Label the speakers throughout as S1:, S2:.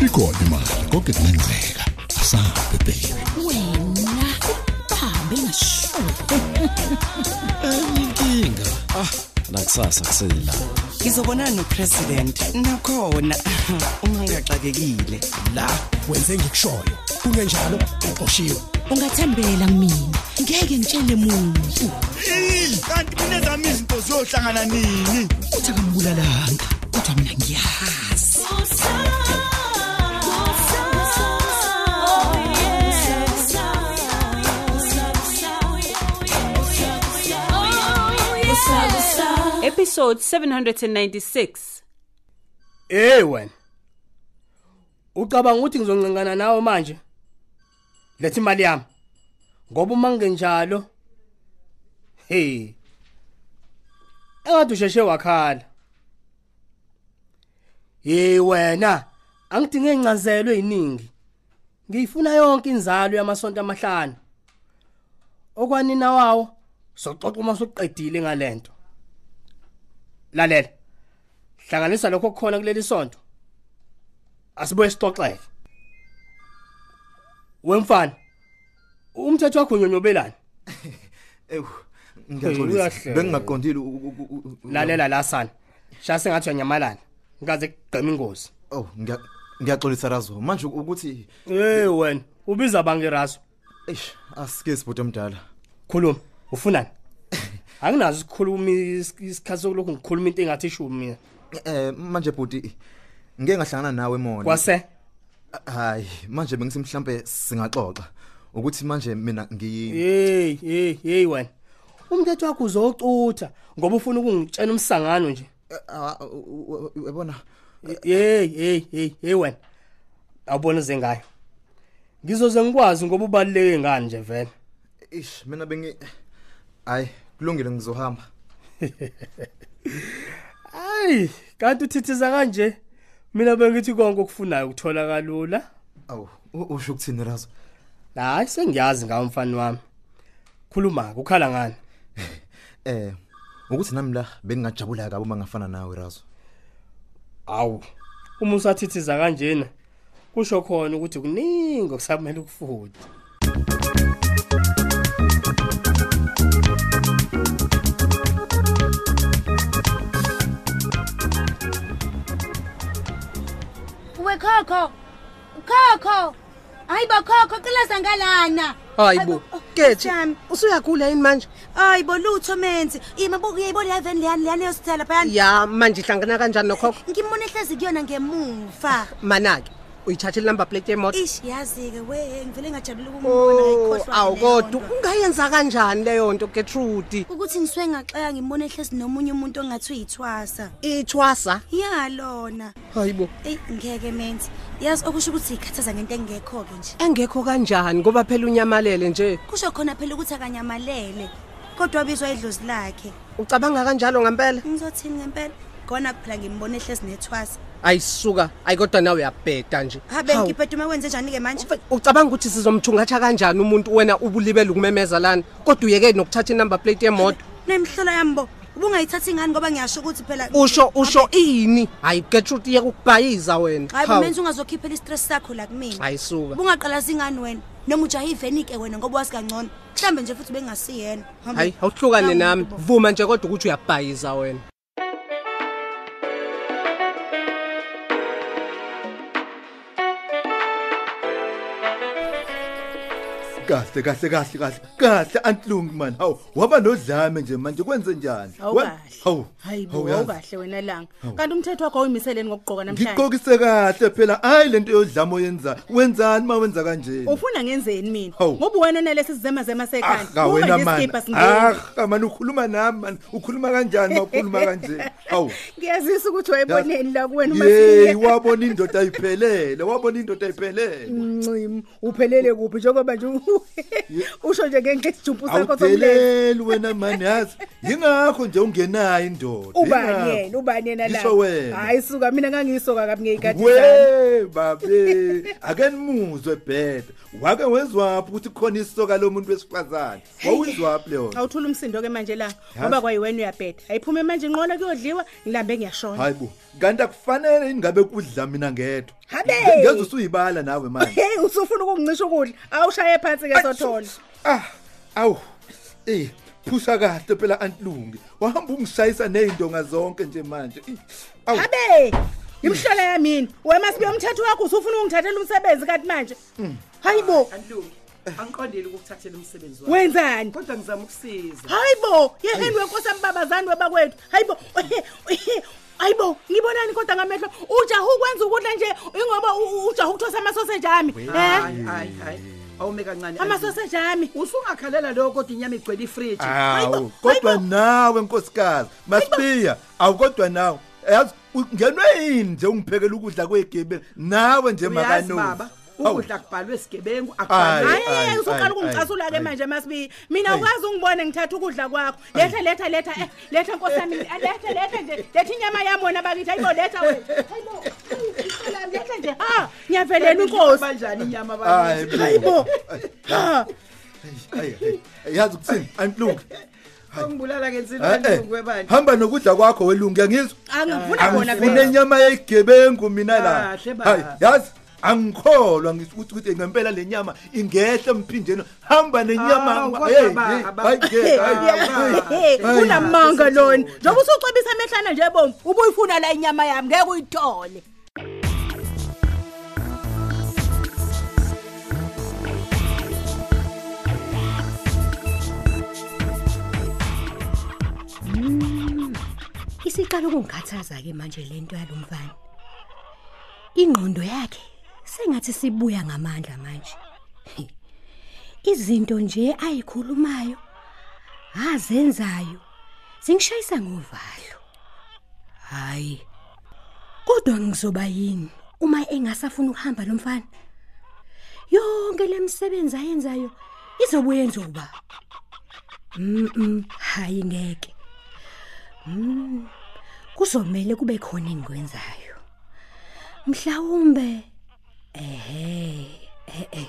S1: uyibone imali konke kungenzeka asabe baby
S2: wena bahambe ngasho
S3: inkinga ah nakusasa kusela
S4: Ngizobonana nopresident nakhona uma ngiyaxakekile.
S5: la wenze ngikushoyo kungenjalo uqoshiwe
S2: ungathembela mina ngeke ngitshele muntu
S6: kanti mina zami izinto ziyohlangana nini
S2: uthi akambulalanga kodwa mina ngiyazi
S7: episode 796
S8: Eh wena. Ucabanga ukuthi ngizoncancana nawe manje? Lethe imali yami. Ngoba uma kungenjalo hey. Ekade usheshe wakhala. Hey wena, angidinge incazelo eziningi. Ngiyifuna yonke inzalo yamasonto amahlanu. Okwanina wawo soxoxa uma soqedile ngalento. Lalela. hlanganisa lokho khona kuleli sonto asibuye sixoxeke wemfana umthetho wakho unyonyobelani
S6: ewu
S8: Hey,
S6: ngiyaxolisa
S8: uyahleka.
S6: bengingaqondile u- u- u- u- u-
S8: lalela la sana shaya sengathi uyanyamalala ngikaze kugqima ingozi
S6: oh ngiya- ngiyaxolisa razo manje ukuthi
S8: hey wena ubiza bangiraso
S6: eish asike sibhuti omdala
S8: khuluma ufunani anginazo isikhuluma is- isikhathi sokulokhu ngikhuluma into engathi ishumi mina
S6: eh manje bhuti ngeke ngahlangana nawe emona
S8: kwase
S6: hayi manje bengithi mhlambe singaxoxa ukuthi manje mina ngi
S8: hey hey hey wena umthetho wakho uzocutha ngoba ufuna ukungitshena umsangano nje
S6: Ah, u- u- u- uyabona
S8: hey hey hey hey wena awubona zengayo ngizoze ngikwazi ngoba ubaluleke ngani nje vele
S6: eish mina bengi hayi kulungile ngizohamba
S8: hayi kanti uthithiza kanje mina bengithi konke okufunayo ukuthola kalula
S6: awu u- usho ukuthini razo
S8: hayi sengiyazi ngawo mfana wami khuluma ukhala ngani
S6: eh ukuthi nami la bengingajabula kabi uma ngafana nawe razo
S8: awu uma usathithiza kanjena kusho khona ukuthi kuningi okusamele ukufude
S9: wekhokho khokho hayi bo khokho qilaza ngalana
S10: Hayibo. Kethi usuyagula yini manje?
S9: hayi bo lutho menzi imabuku yayibona iyaveni leyani leyani yosithela phayani
S10: Ya manje ihlangana kanjani nokhokho?
S9: ngimona ehlezi kuyona ngemuva
S10: Manaki. Uyithathe inumber plate yemoto.
S9: ish yazi-ke we ngivele ngajabula
S10: Oh, awukodwa
S9: ukumbonaayikhohlwa
S10: ungayenza kanjani leyo nto Gertrude?
S9: ukuthi ngisuke ngaxeka ngimona ehlezi nomunye umuntu ongathi uyithwasa
S10: Ithwasa.
S9: ya lona
S10: Hayibo.
S9: eyi ngeke menzi yazi okusho ukuthi ikhathaza ngento engekho-ke nje
S10: Engekho kanjani ngoba phela unyamalele nje.
S9: kusho khona phela ukuthi akanyamalele kodwa wabizwa idlozi lakhe
S10: Ucabanga kanjalo ngempela?
S9: ngizothini ngempela khona kuphela ngimbona ehlezi nethwasa
S10: Ayisuka. Ayikodwa nawe uyabheda nje.
S9: habe
S10: Hawu.
S9: ngiphethe uma kwenze njani-ke manje
S10: Ufe- Ucabanga ukuthi sizomthungatha kanjani umuntu wena ubulibele ukumemeza lana? Kodwa uyeke nokuthatha inumber plate yemoto.
S9: nemihlola yami bo ubungayithathi ngani ngoba ngiyasho ukuthi phela
S10: Usho usho ini? Hayi Gertrude iyeke ukubhayiza wena.
S9: hayi
S10: Hawu.
S9: bumenza ungazokhiphela i-stress sakho la kumina
S10: Ayisuka.
S9: bungaqalazi ingani wena noma ujahe iveni-ke wena ngoba wazi kangcono mhlawumbe nje futhi bengingasiyena Hamba.
S10: hayi awuhlukane
S9: Nangu
S10: nami
S9: umuntu bo.
S10: vuma nje kodwa ukuthi uyabhayiza wena
S6: kahle kahle kahle kahle kahle antlungu man hawu waba nodlame nje manje kwenze njani Wa- hawu hawu, yazi.
S11: awukahle wena langa kanti umthetho wakho awumiseleni ngokugqoka namhlanje
S6: ngiqokise kahle phela hayi lento yodlame oyenza wenzani uma wenza kanjena
S11: ufuna ngenzeni mina
S6: Hawu.
S11: ngoba wena onalesi sizemazema
S6: Ah,
S11: sekhanda
S6: kawena man
S11: ngesikibha singeni
S6: ah man ukhuluma nami man ukhuluma kanjani mawukhuluma kanje hawu
S11: ngiyazisa ukuthi wayeboneni la kuwena uma
S6: yeyi
S11: siye
S6: wabona indoda ayiphelele wabona indoda ayiphelele
S11: ncimi uphelele kuphi njengoba nje u- usho nje ngenhle isijumpu sakho somlele
S6: awudeleli wena mani yazi yingakho nje ungenayo indoda
S11: ubani
S6: yingakho.
S11: yena ubani yena la
S6: Ngisho wena.
S11: hayi suka mina ngangiyisoka kabi ngeyikati
S6: we babe akenimuzwe bheda wake wezwaphi ukuthi kukhona isoka lomuntu wesifazane wawuzwaphi leyo
S11: awuthula umsindo-ke manje la ngoba kwayi wena uyabheda ayiphume manje inqola kuyodliwa ngilambe ngiyashona
S6: hayi bo kanti akufanele yini ngabe kudla mina ngedwa
S11: Habe.
S6: Ngeze usuyibala nawe manje.
S11: Hey usufuna ukungicisha ukudla. Awushaye phansi ke sothola.
S6: Ah. Awu. Eh, phusa kahle phela antilungi. Wahamba ungisayisa nezindonga zonke nje manje. Eh, Awu. Eh.
S11: Habe. Imhlola yamini. Wena masibe umthetho wakho usufuna ungithathela umsebenzi kanti manje. Hayibo.
S12: Antlungu. Angiqondile ukukuthathela umsebenzi wakho.
S11: Wenzani?
S12: Kodwa ngizama ukusiza.
S11: Hayibo, yeheni wenkosi ambabazani wabakwethu. Hayibo. Hayibo, ngibonani kodwa ngamehlo ujahu ukwenza ukudla nje ingoba u- u- ujahu ukuthosa amasoseji ami. Eh?
S12: Hayi, hayi, hayi. Awume kancane.
S11: Amasoseji ami.
S12: Usungakhalela lokho kodwa inyama igcwele ifridge.
S6: Ah. Awu, kodwa nawe nkosikazi, masibiya. Awu kodwa nawe. Yazi ungenwe yini nje ungiphekela ukudla kwegebe. Nawe nje
S12: Uyazi
S6: makanozi.
S12: baba, ukudla kubhalwe isigebengu
S6: Ayi,
S12: akubhalwe.
S6: ayi,
S11: Hayi
S6: ayi,
S11: usuqala ungicasula ke
S6: ayi.
S11: manje masibi. Mina ukwazi ungibone ngithatha ukudla kwakho. Letha letha letha eh, letha nkosi yami eh, letha letha nje letha inyama yami wena bakithi hayibo letha wena. Hayibo. hayi, Letha nje ha ngiyavelela inkosi.
S12: Kanjani inyama
S6: Hayi
S12: bakithi?
S6: bo.
S11: Hayibo.
S6: Hayi. Hayi. Yazi ukuthini antilungi.
S12: Ungibulala ke insini
S6: Eh, eh,
S12: antlungu webani.
S6: Hamba nokudla kwakho welungi ngiyizwa.
S11: Angifuna bona
S6: angifuna inyama yeyigebengu mina la
S12: Kahle baba.
S6: hayi yazi angikholwa ngisho ukuthi ukuthi ngempela le nyama ingehle emphinjeni hamba
S11: Ah,
S12: Hawu,
S6: nenyama
S12: kodwa
S6: hey,
S12: ba-
S6: hey,
S12: ba-
S6: hayi, hey, hayi, hayi, hayi.
S11: kunamanga lona njengoba usucebisa amehlana nje bomu ubuyifuna la inyama yami ngeke uyithole
S13: Isiqala ukungikhathaza ke Hmm. manje lento yalomfana. Ingqondo yakhe sengathi sibuya ngamandla manje. He. Izinto nje ayikhulumayo, azenzayo, zingishayisa ngovalo. Hayi. Kodwa ngizoba yini uma engasafuna ukuhamba lomfana? Yonke lemsebenzi ayenzayo izobuye yenziwa uba. Mhm, hayi ngeke. Mm. Kuzomela kube khona engikwenzayo. Mhlawumbe ehe eh eh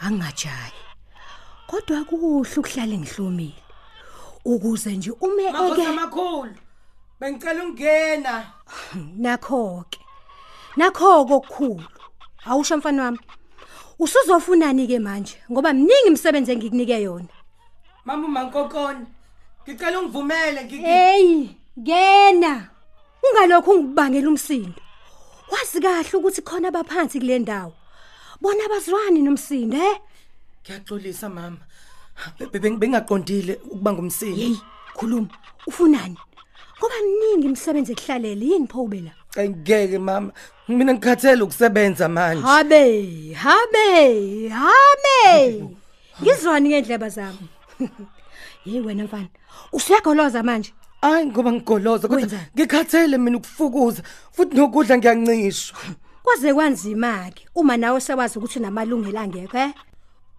S13: angajayi. Kodwa kuhle ukuhlale ngihlomile. Ukuze nje ume
S12: Makhosi
S13: eke
S12: amakhulu. Bengicela ukungena.
S13: nakho ke. Nakho kokukhulu. Awusho mfana wami. Usuzofunani ke manje ngoba mningi imsebenze engikunike yona.
S12: Mama uMankokoni. Ngicela ungivumele ngiki.
S13: Hey, ngena. Ungalokho ungibangela umsindo. Wazi kahle ukuthi khona abaphansi kule ndawo. Bona abazwani nomsindo, eh?
S12: Ngiyaxolisa mama. Be- be- Bengingaqondile ukuba ngumsini.
S13: Hey, khuluma. Ufunani? Ngoba mningi imsebenze ekuhlalele yini pho ube la?
S12: Ayi ngeke mama. Mina ngikhathele ukusebenza manje.
S13: Habe, habe, habe. Ngizwani ngendleba zami. Hey wena mfana, usiyagoloza manje.
S12: Hayi ngoba ngigoloza kodwa ngikhathele mina ukufukuza futhi nokudla ngiyancishwa.
S13: Kwaze kwanzima ke uma nawe sewazi ukuthi unamalungelo angekho, eh?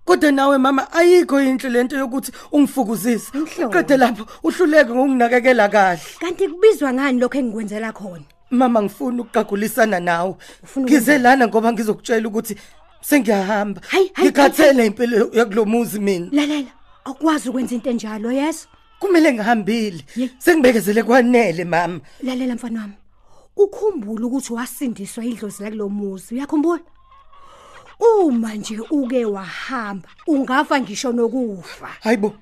S12: Kodwa nawe mama ayikho inhle lento yokuthi ungifukuzise. Uqede lapho uhluleke ngokunginakekela kahle.
S13: Kanti kubizwa ngani lokho engikwenzela khona?
S12: Mama ngifuna ukuqagulisana nawe. Ngize lana ngoba ngizokutshela ukuthi sengiyahamba.
S13: hayi,
S12: Ngikhathele impilo yakulomuzi mina.
S13: Lalela, akwazi ukwenza into enjalo, yes?
S12: Kumele ngihambile. Sengibekezele kwanele mama.
S13: Lalela mfana wami. Ukhumbule ukuthi wasindiswa idlozi la kulomuzi, uyakhumbula? Uma nje uke wahamba, ungafa ngisho nokufa.
S12: Hayibo.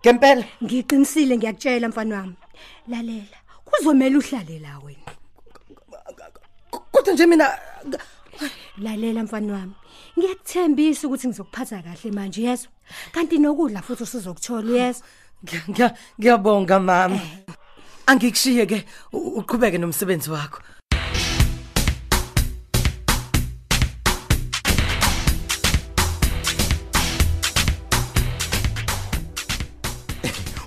S12: Ngempela
S13: ngiqinisile ngiyakutshela mfana wami. Lalela, kuzomela uhlale la wena.
S12: Kodwa nje mina
S13: Lalela mfana wami. Ngiyakuthembisa ukuthi ngizokuphatha kahle manje, yezwa? Kanti nokudla futhi usizokuthola, yezwa?
S12: Ngiya- ngiya- ngiyabonga mama.
S13: Eh.
S12: Angikushiye ke u- uqhubeke nomsebenzi wakho.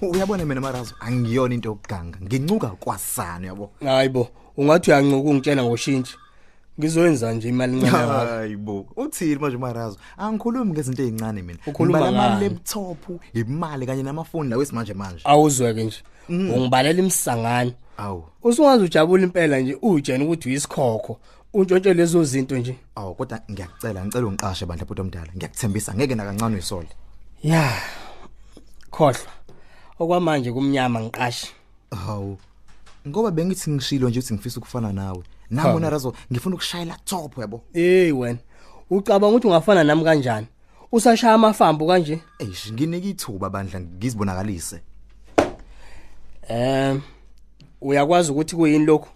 S14: uyabona mina marazo angiyona into yokuganga ngincuka kwasana yabo
S8: Hayibo, ungathi uyancuka ungitshela ngoshintshi. Ngizowenza nje imali ncane yakho.
S14: hayibo uthini manje marazo angikhulumi ngezinto ezincane mina
S8: Ukhuluma
S14: ngama
S8: ngani?
S14: laptop imali kanye namafoni lawo esimanje manje
S8: Awuzweke nje.
S14: Mm.
S8: Ungibalela imsangano.
S14: Awu.
S8: Usungazi ujabula impela nje ujene ukuthi uyisikhokho. Untshontshe lezo zinto nje.
S14: awu kodwa ngiyacela ngicela ungiqashe bandla bhuti omdala ngiyakuthembisa ngeke nakancane uyisole
S8: Ya. Khohlwa. Okwamanje kumnyama ngiqashe.
S14: hawu ngoba bengithi ngishilo nje ukuthi ngifisa ukufana nawe nami wena razo ngifuna ukushayela top yabo
S8: hey wena ucabanga ukuthi ungafana nami kanjani usashaya amafambo kanje
S14: eish nginike ithuba bandla ngizibonakalise
S8: em uyakwazi ukuthi kuyini lokho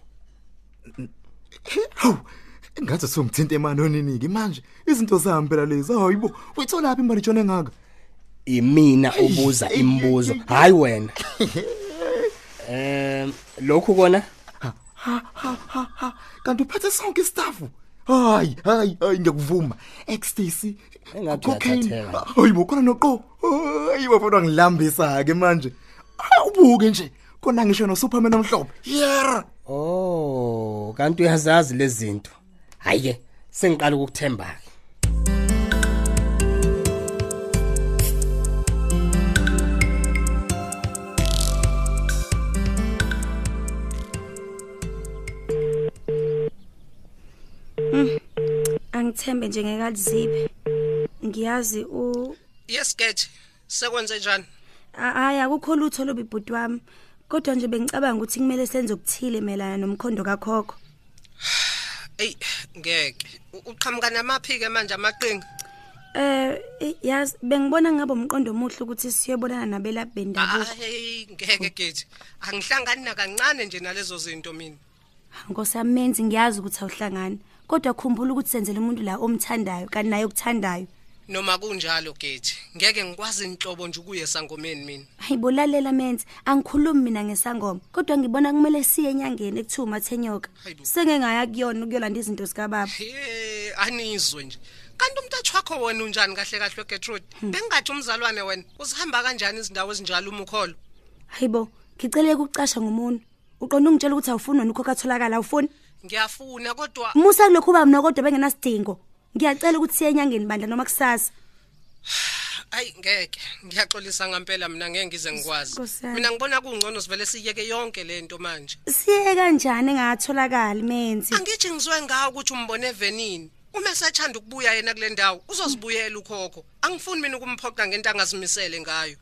S14: ngathi sungithinta emanonini ke manje izinto zami phela lezi hayibo uyithola aphi imali tshona engaka
S8: imina obuza imibuzo hayi wena em lokhu kona
S14: ha ha ha ha kanti uphathe sonke istafu hayi hayi hayi ngiyakuvuma ecstasy cocaine
S8: Engathathatheka.
S14: hayibo khona noqo hayi wafuna ngilambisa ke manje Ah, ubuke nje kona ngisho no superman omhlophe yera
S8: oh kanti uyazazi lezi zinto hayi ke sengiqala ukukuthemba ke
S9: Hmm, angithembe njengekaliziphi ngiyazi u
S10: yes get sekwenze njani
S9: hayi akukho lutho lobi bhuti wami kodwa nje bengicabanga ukuthi kumele senze okuthile melana nomkhondo kakhokho
S10: eyi ngeke U- uqhamuka namaphi ke manje amaqinga
S9: eh eh, yazi bengibona ngabe umqondo omuhle ukuthi siyobonana nabelaphi bendabuko
S10: hayi Ah, ngeke get angihlangani nakancane nje nalezo zinto mina
S9: ngosamenzi ngiyazi ukuthi awuhlangani kodwa khumbula ukuthi senzele umuntu la omthandayo kanti naye okuthandayo
S10: noma kunjalo get ngeke ngikwazi inhlobo nje ukuye sangomeni mina
S9: ayibolalela menze angikhulumi mina ngesangoma kodwa ngibona kumele siye enyangeni ekuthiwa umathenyoka sengengaya kuyona ukuyolanda izinto zikababa
S10: Eh, anizwe nje kanti umntathu wakho wena unjani kahle kahle ugetrude bengingathi umzalwane wena uzihamba kanjani izindawo ezinjalo uma ukholo
S9: hayibo ngicele ukucasha ngomuntu uqonda ungitshela ukuthi awufuni wena ukhokho atholakala awufuni
S10: ngiyafuna kodwa
S9: musa kulokhu uba mna kodwa bengenasidingo ngiyacela ukuthi siye enyangeni bandla noma kusasa
S10: ayi ngeke ngiyaxolisa ngampela mina ngeke ngize ngikwazi
S9: Nkosi yami.
S10: mina ngibona kungcono sivele siyeke yonke lento manje
S9: siye kanjani engatholakali menzi
S10: angithi ngizwe ngawo ukuthi umbone evenini uma esethanda ukubuya yena kule ndawo uzozibuyela ukhokho angifuni mina ukumphoqa ngento angazimisele ngayo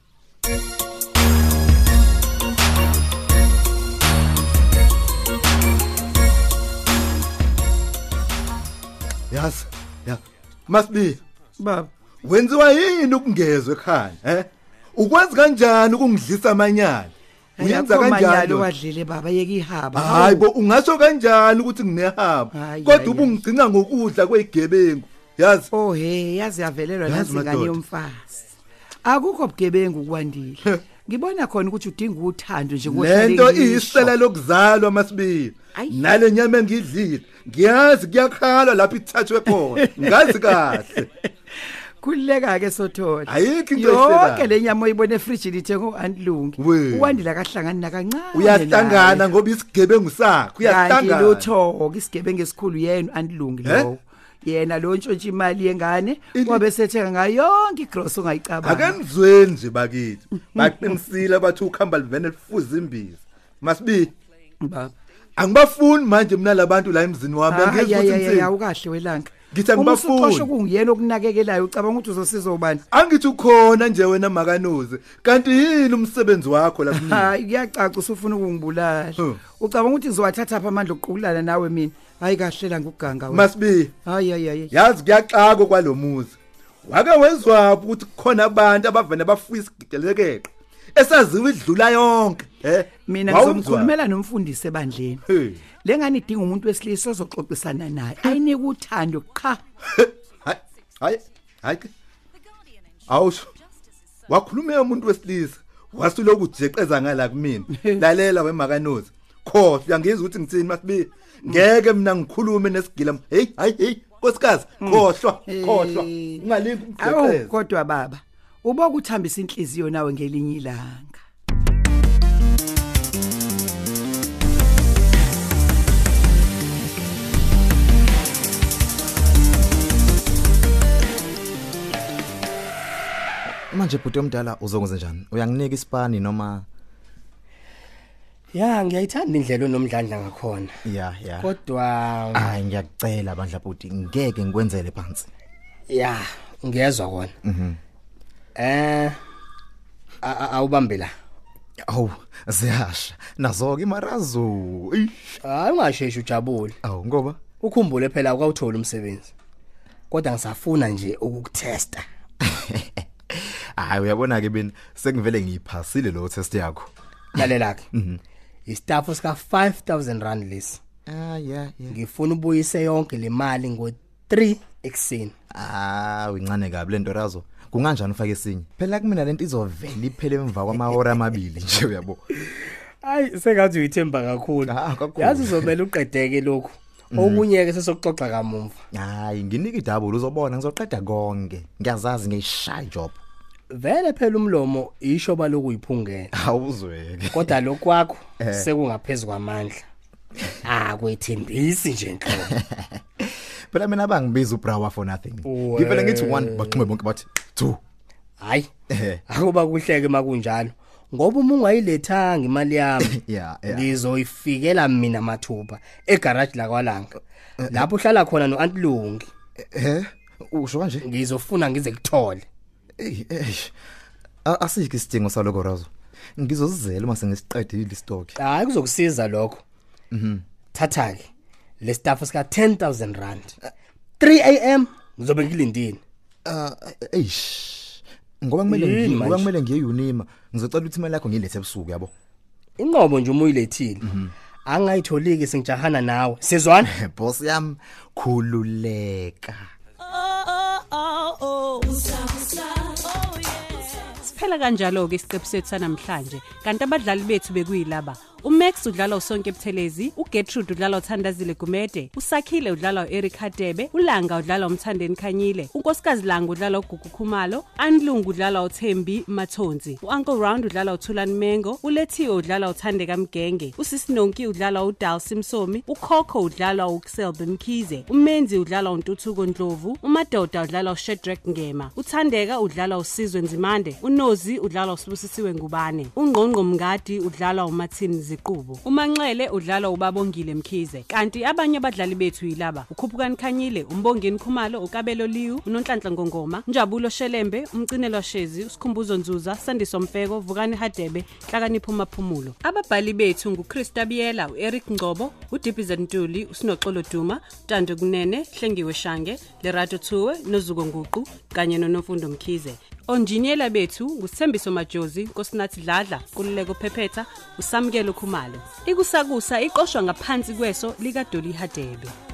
S6: yazi ya masibiya baba wenziwa yini ukungezwe ekhaya eh ukwenza kanjani ukungidlisa amanyala uyenza kanjani wena?
S15: wadlile baba yeke ihaba
S6: hayi bo ungasho kanjani ukuthi nginehaba kodwa
S15: hayi,
S6: ubungigcina ngokudla kwegebengu yazi
S15: oh he yazi yavelelwa
S6: Yazi,
S15: nazingane
S6: madoda.
S15: yomfazi akukho bugebengu kwandile ngibona khona ukuthi udinga uthando nje
S6: lento iyisela lokuzalwa masibili nale nyama engidlile ngiyazi kuyakhala lapho ithathwe khona ngazi kahle
S15: khululeka ke sothola
S6: Ayikho into eselayo.
S15: yonke le nyama oyibona efrijini ithengwe u-antilungi
S6: We.
S15: uwandile akahlangani nakancane
S6: uyahlangana ngoba isigebengu sakho uyahlangana
S15: lutho-ke isigebengu esikhulu yena u-antilungi
S6: Eh?
S15: lowo yena lo ntshontsha imali yengane wabe sethenga ngayo yonke igross ongayicabanga
S6: akanizweni nje bakithi baqinisile bathi ukhamba livene lifuza imbiza masibili
S15: baba
S6: angibafuni manje mina labantu la emzini wami
S15: Ah,
S6: angezi
S15: ya,
S6: ukuthi
S15: ya, ya, ya,
S6: ngithini
S15: ukahle welanga
S6: Ngithi angibafuni.
S15: Uma usuqoshwa kungiyena okunakekelayo ucabanga ukuthi uzosiza ubani
S6: angithi ukhona nje wena makanuzi kanti yini umsebenzi wakho la kunini
S15: hayi kuyacaca usufuna ukungibulala ucabanga ukuthi ngizowathatha pha amandla okuqukulana nawe mina hayi kahle la nguganga
S6: Masibi.
S15: hayi hayi hayi
S6: yazi kuyaxako kwalomuzi wake wezwapha ukuthi kukhona abantu abavane bafuya isigidelekeke esaziwa idlula yonke eh
S15: mina
S6: Wawumzwa?
S15: ngizomkhulumela nomfundisi ebandleni
S6: Hey.
S15: lengane idinga umuntu wesilisa ozoxoxisana naye ayinike uthando qha
S6: hayi hayi ke. awusho wakhulume umuntu wesilisa wasuloku jeqeza ngala kumina lalela wemakanozi khohle uyangizwa ukuthi ngitsini masibi ngeke mina ngikhulume nesigila hey hey hey nkosikazi khohlwa khohlwa ungalingi
S15: Hmm. awu
S6: umjeqeza
S15: kodwa baba uba ukuthambisa inhliziyo nawe ngelinye ilanga
S14: manje bhuti omdala uzokwenza njani uyanginika isipani noma
S8: ya ngiyayithanda indlela onomdlandla ngakhona
S14: ya ya
S8: kodwa
S14: hayi ngiyakucela bandla bhuti ngeke ngikwenzele phansi
S8: ya ngiyezwa kona
S14: mhm
S8: eh a- a- awubambe la
S14: Awu, ziyasha. Nazo ke imarazo.
S8: Hayi ungasheshe ujabule.
S14: Awu ngoba
S8: ukhumbule phela ukawuthola umsebenzi. Kodwa ngisafuna nje ukukuthesta.
S14: Hayi uyabona ke bini sekuvele ngiyiphasile lo test yakho.
S8: Lalela ke. Mhm. Istafu sika 5000 rand lesi.
S14: Ah yeah yeah.
S8: Ngifuna ubuyise yonke le mali ngo 3 ekseni.
S14: Ah uyincane kabi lento razo. Kunganjani ufake esinye? Phela kumina lento izovela iphele emva kwamahora amabili nje uyabo.
S8: Hayi sengathi uyithemba kakhulu. Yazi uzomela uqedeke lokho. Okunye ke sesokuxoxa kamuva.
S14: Hayi nginike idouble uzobona ngizoqeda konke. Ngiyazazi ngeyishaya job.
S8: Vele phela umlomo ishoba lokuyiphungela.
S14: Awuzweke.
S8: Kodwa lokwakho
S14: Eh.
S8: sekungaphezulu kwamandla. Ah kwethembisi nje inhlobo.
S14: Phela mina bangibiza uBrawa for nothing.
S8: Weh.
S14: Ngivele ngithi one baxume bonke bathi two.
S8: Hayi.
S14: Eh.
S8: Akuba kuhleke makunjalo. Ngoba uma ungayilethanga imali yami,
S14: Yeah, yeah.
S8: ngizoyifikela mina mathuba egarage la kwalanga. Lapho uhlala khona noAntlungi.
S14: Eh? Usho kanje?
S8: Ngizofuna ngize kuthole.
S14: Ey, ey. A- Asikho isidingo saloko razo. Ngizozizela uma sengisiqedile istock.
S8: Hayi kuzokusiza lokho.
S14: Mhm.
S8: Thatha ke le staff sika 10000 rand. 3 am ngizobe ngilindile.
S14: Ah, eish. Ngoba kumele
S8: Yini
S14: ngiye, ngoba
S8: manje?
S14: kumele ngiye unima. Ngizocela ukuthi imali yakho ngilethe ebusuku yabo. Mhm.
S8: Inqobo nje uma uyilethile. Angayitholiki singijahana nawe. Sizwana?
S14: Boss yami khululeka.
S7: Siphela kanjalo ke isiqephu sethu sanamhlanje. Kanti abadlali bethu bekuyilaba. uMax udlalwa uSonke Buthelezi, uGertrude udlalwa uThandazile Gumede, uSakhile udlalwa uEric Hadebe, uLanga udlalwa uMthandeni Khanyile, uNkosikazi Langa udlalwa uGugu Khumalo, Anlungu udlalwa uThembi Mathonzi, uUncle Round udlalwa uThulani Mengo, uLethiwe udlalwa uThandeka Mgenge, uSisinonki udlalwa uDalsim Msomi, uKhokho udlalwa uXelben Khize, uMenzi udlalwa uNtuthuko Ndlovu, uMadoda udlalwa uShedrack Ngema, uThandeka udlalwa uSizwe Nzimande, uNozi udlalwa uSibusisiwe Ngubane, uNgqongqo Mngadi udlalwa uMathini Ziqubo, uManxele udlalwa uBabongile Mkhize. Kanti abanye abadlali bethu yilaba: uKhuphukani Khanyile, uMbongeni Khumalo, uKabelo Liwu, uNonhlanhla Ngongoma, Njabulo Shelembe, uMcinelwa Shezi, uSkhumbuzo Nzuza, Sandiso Mfeko, Vukani Hadebe, Hlakanipho Maphumulo. Ababhali bethu nguChrista Biyela, uEric Ngcobo, uDiphizan Ntuli, uSinoxolo Duma, Tando Kunene, Hlengiwe Shange, Lerato Thuwe, noZuko Nguqu kanye noNomfundo Mkhize. Onjiniyela bethu nguSthembiso Majozi, Nkosinathi Dladla, Kululeko Phephetha, uSamukelo Khumalo. Ikusakusa iqoshwa ngaphansi kweso likaDoli Hadebe.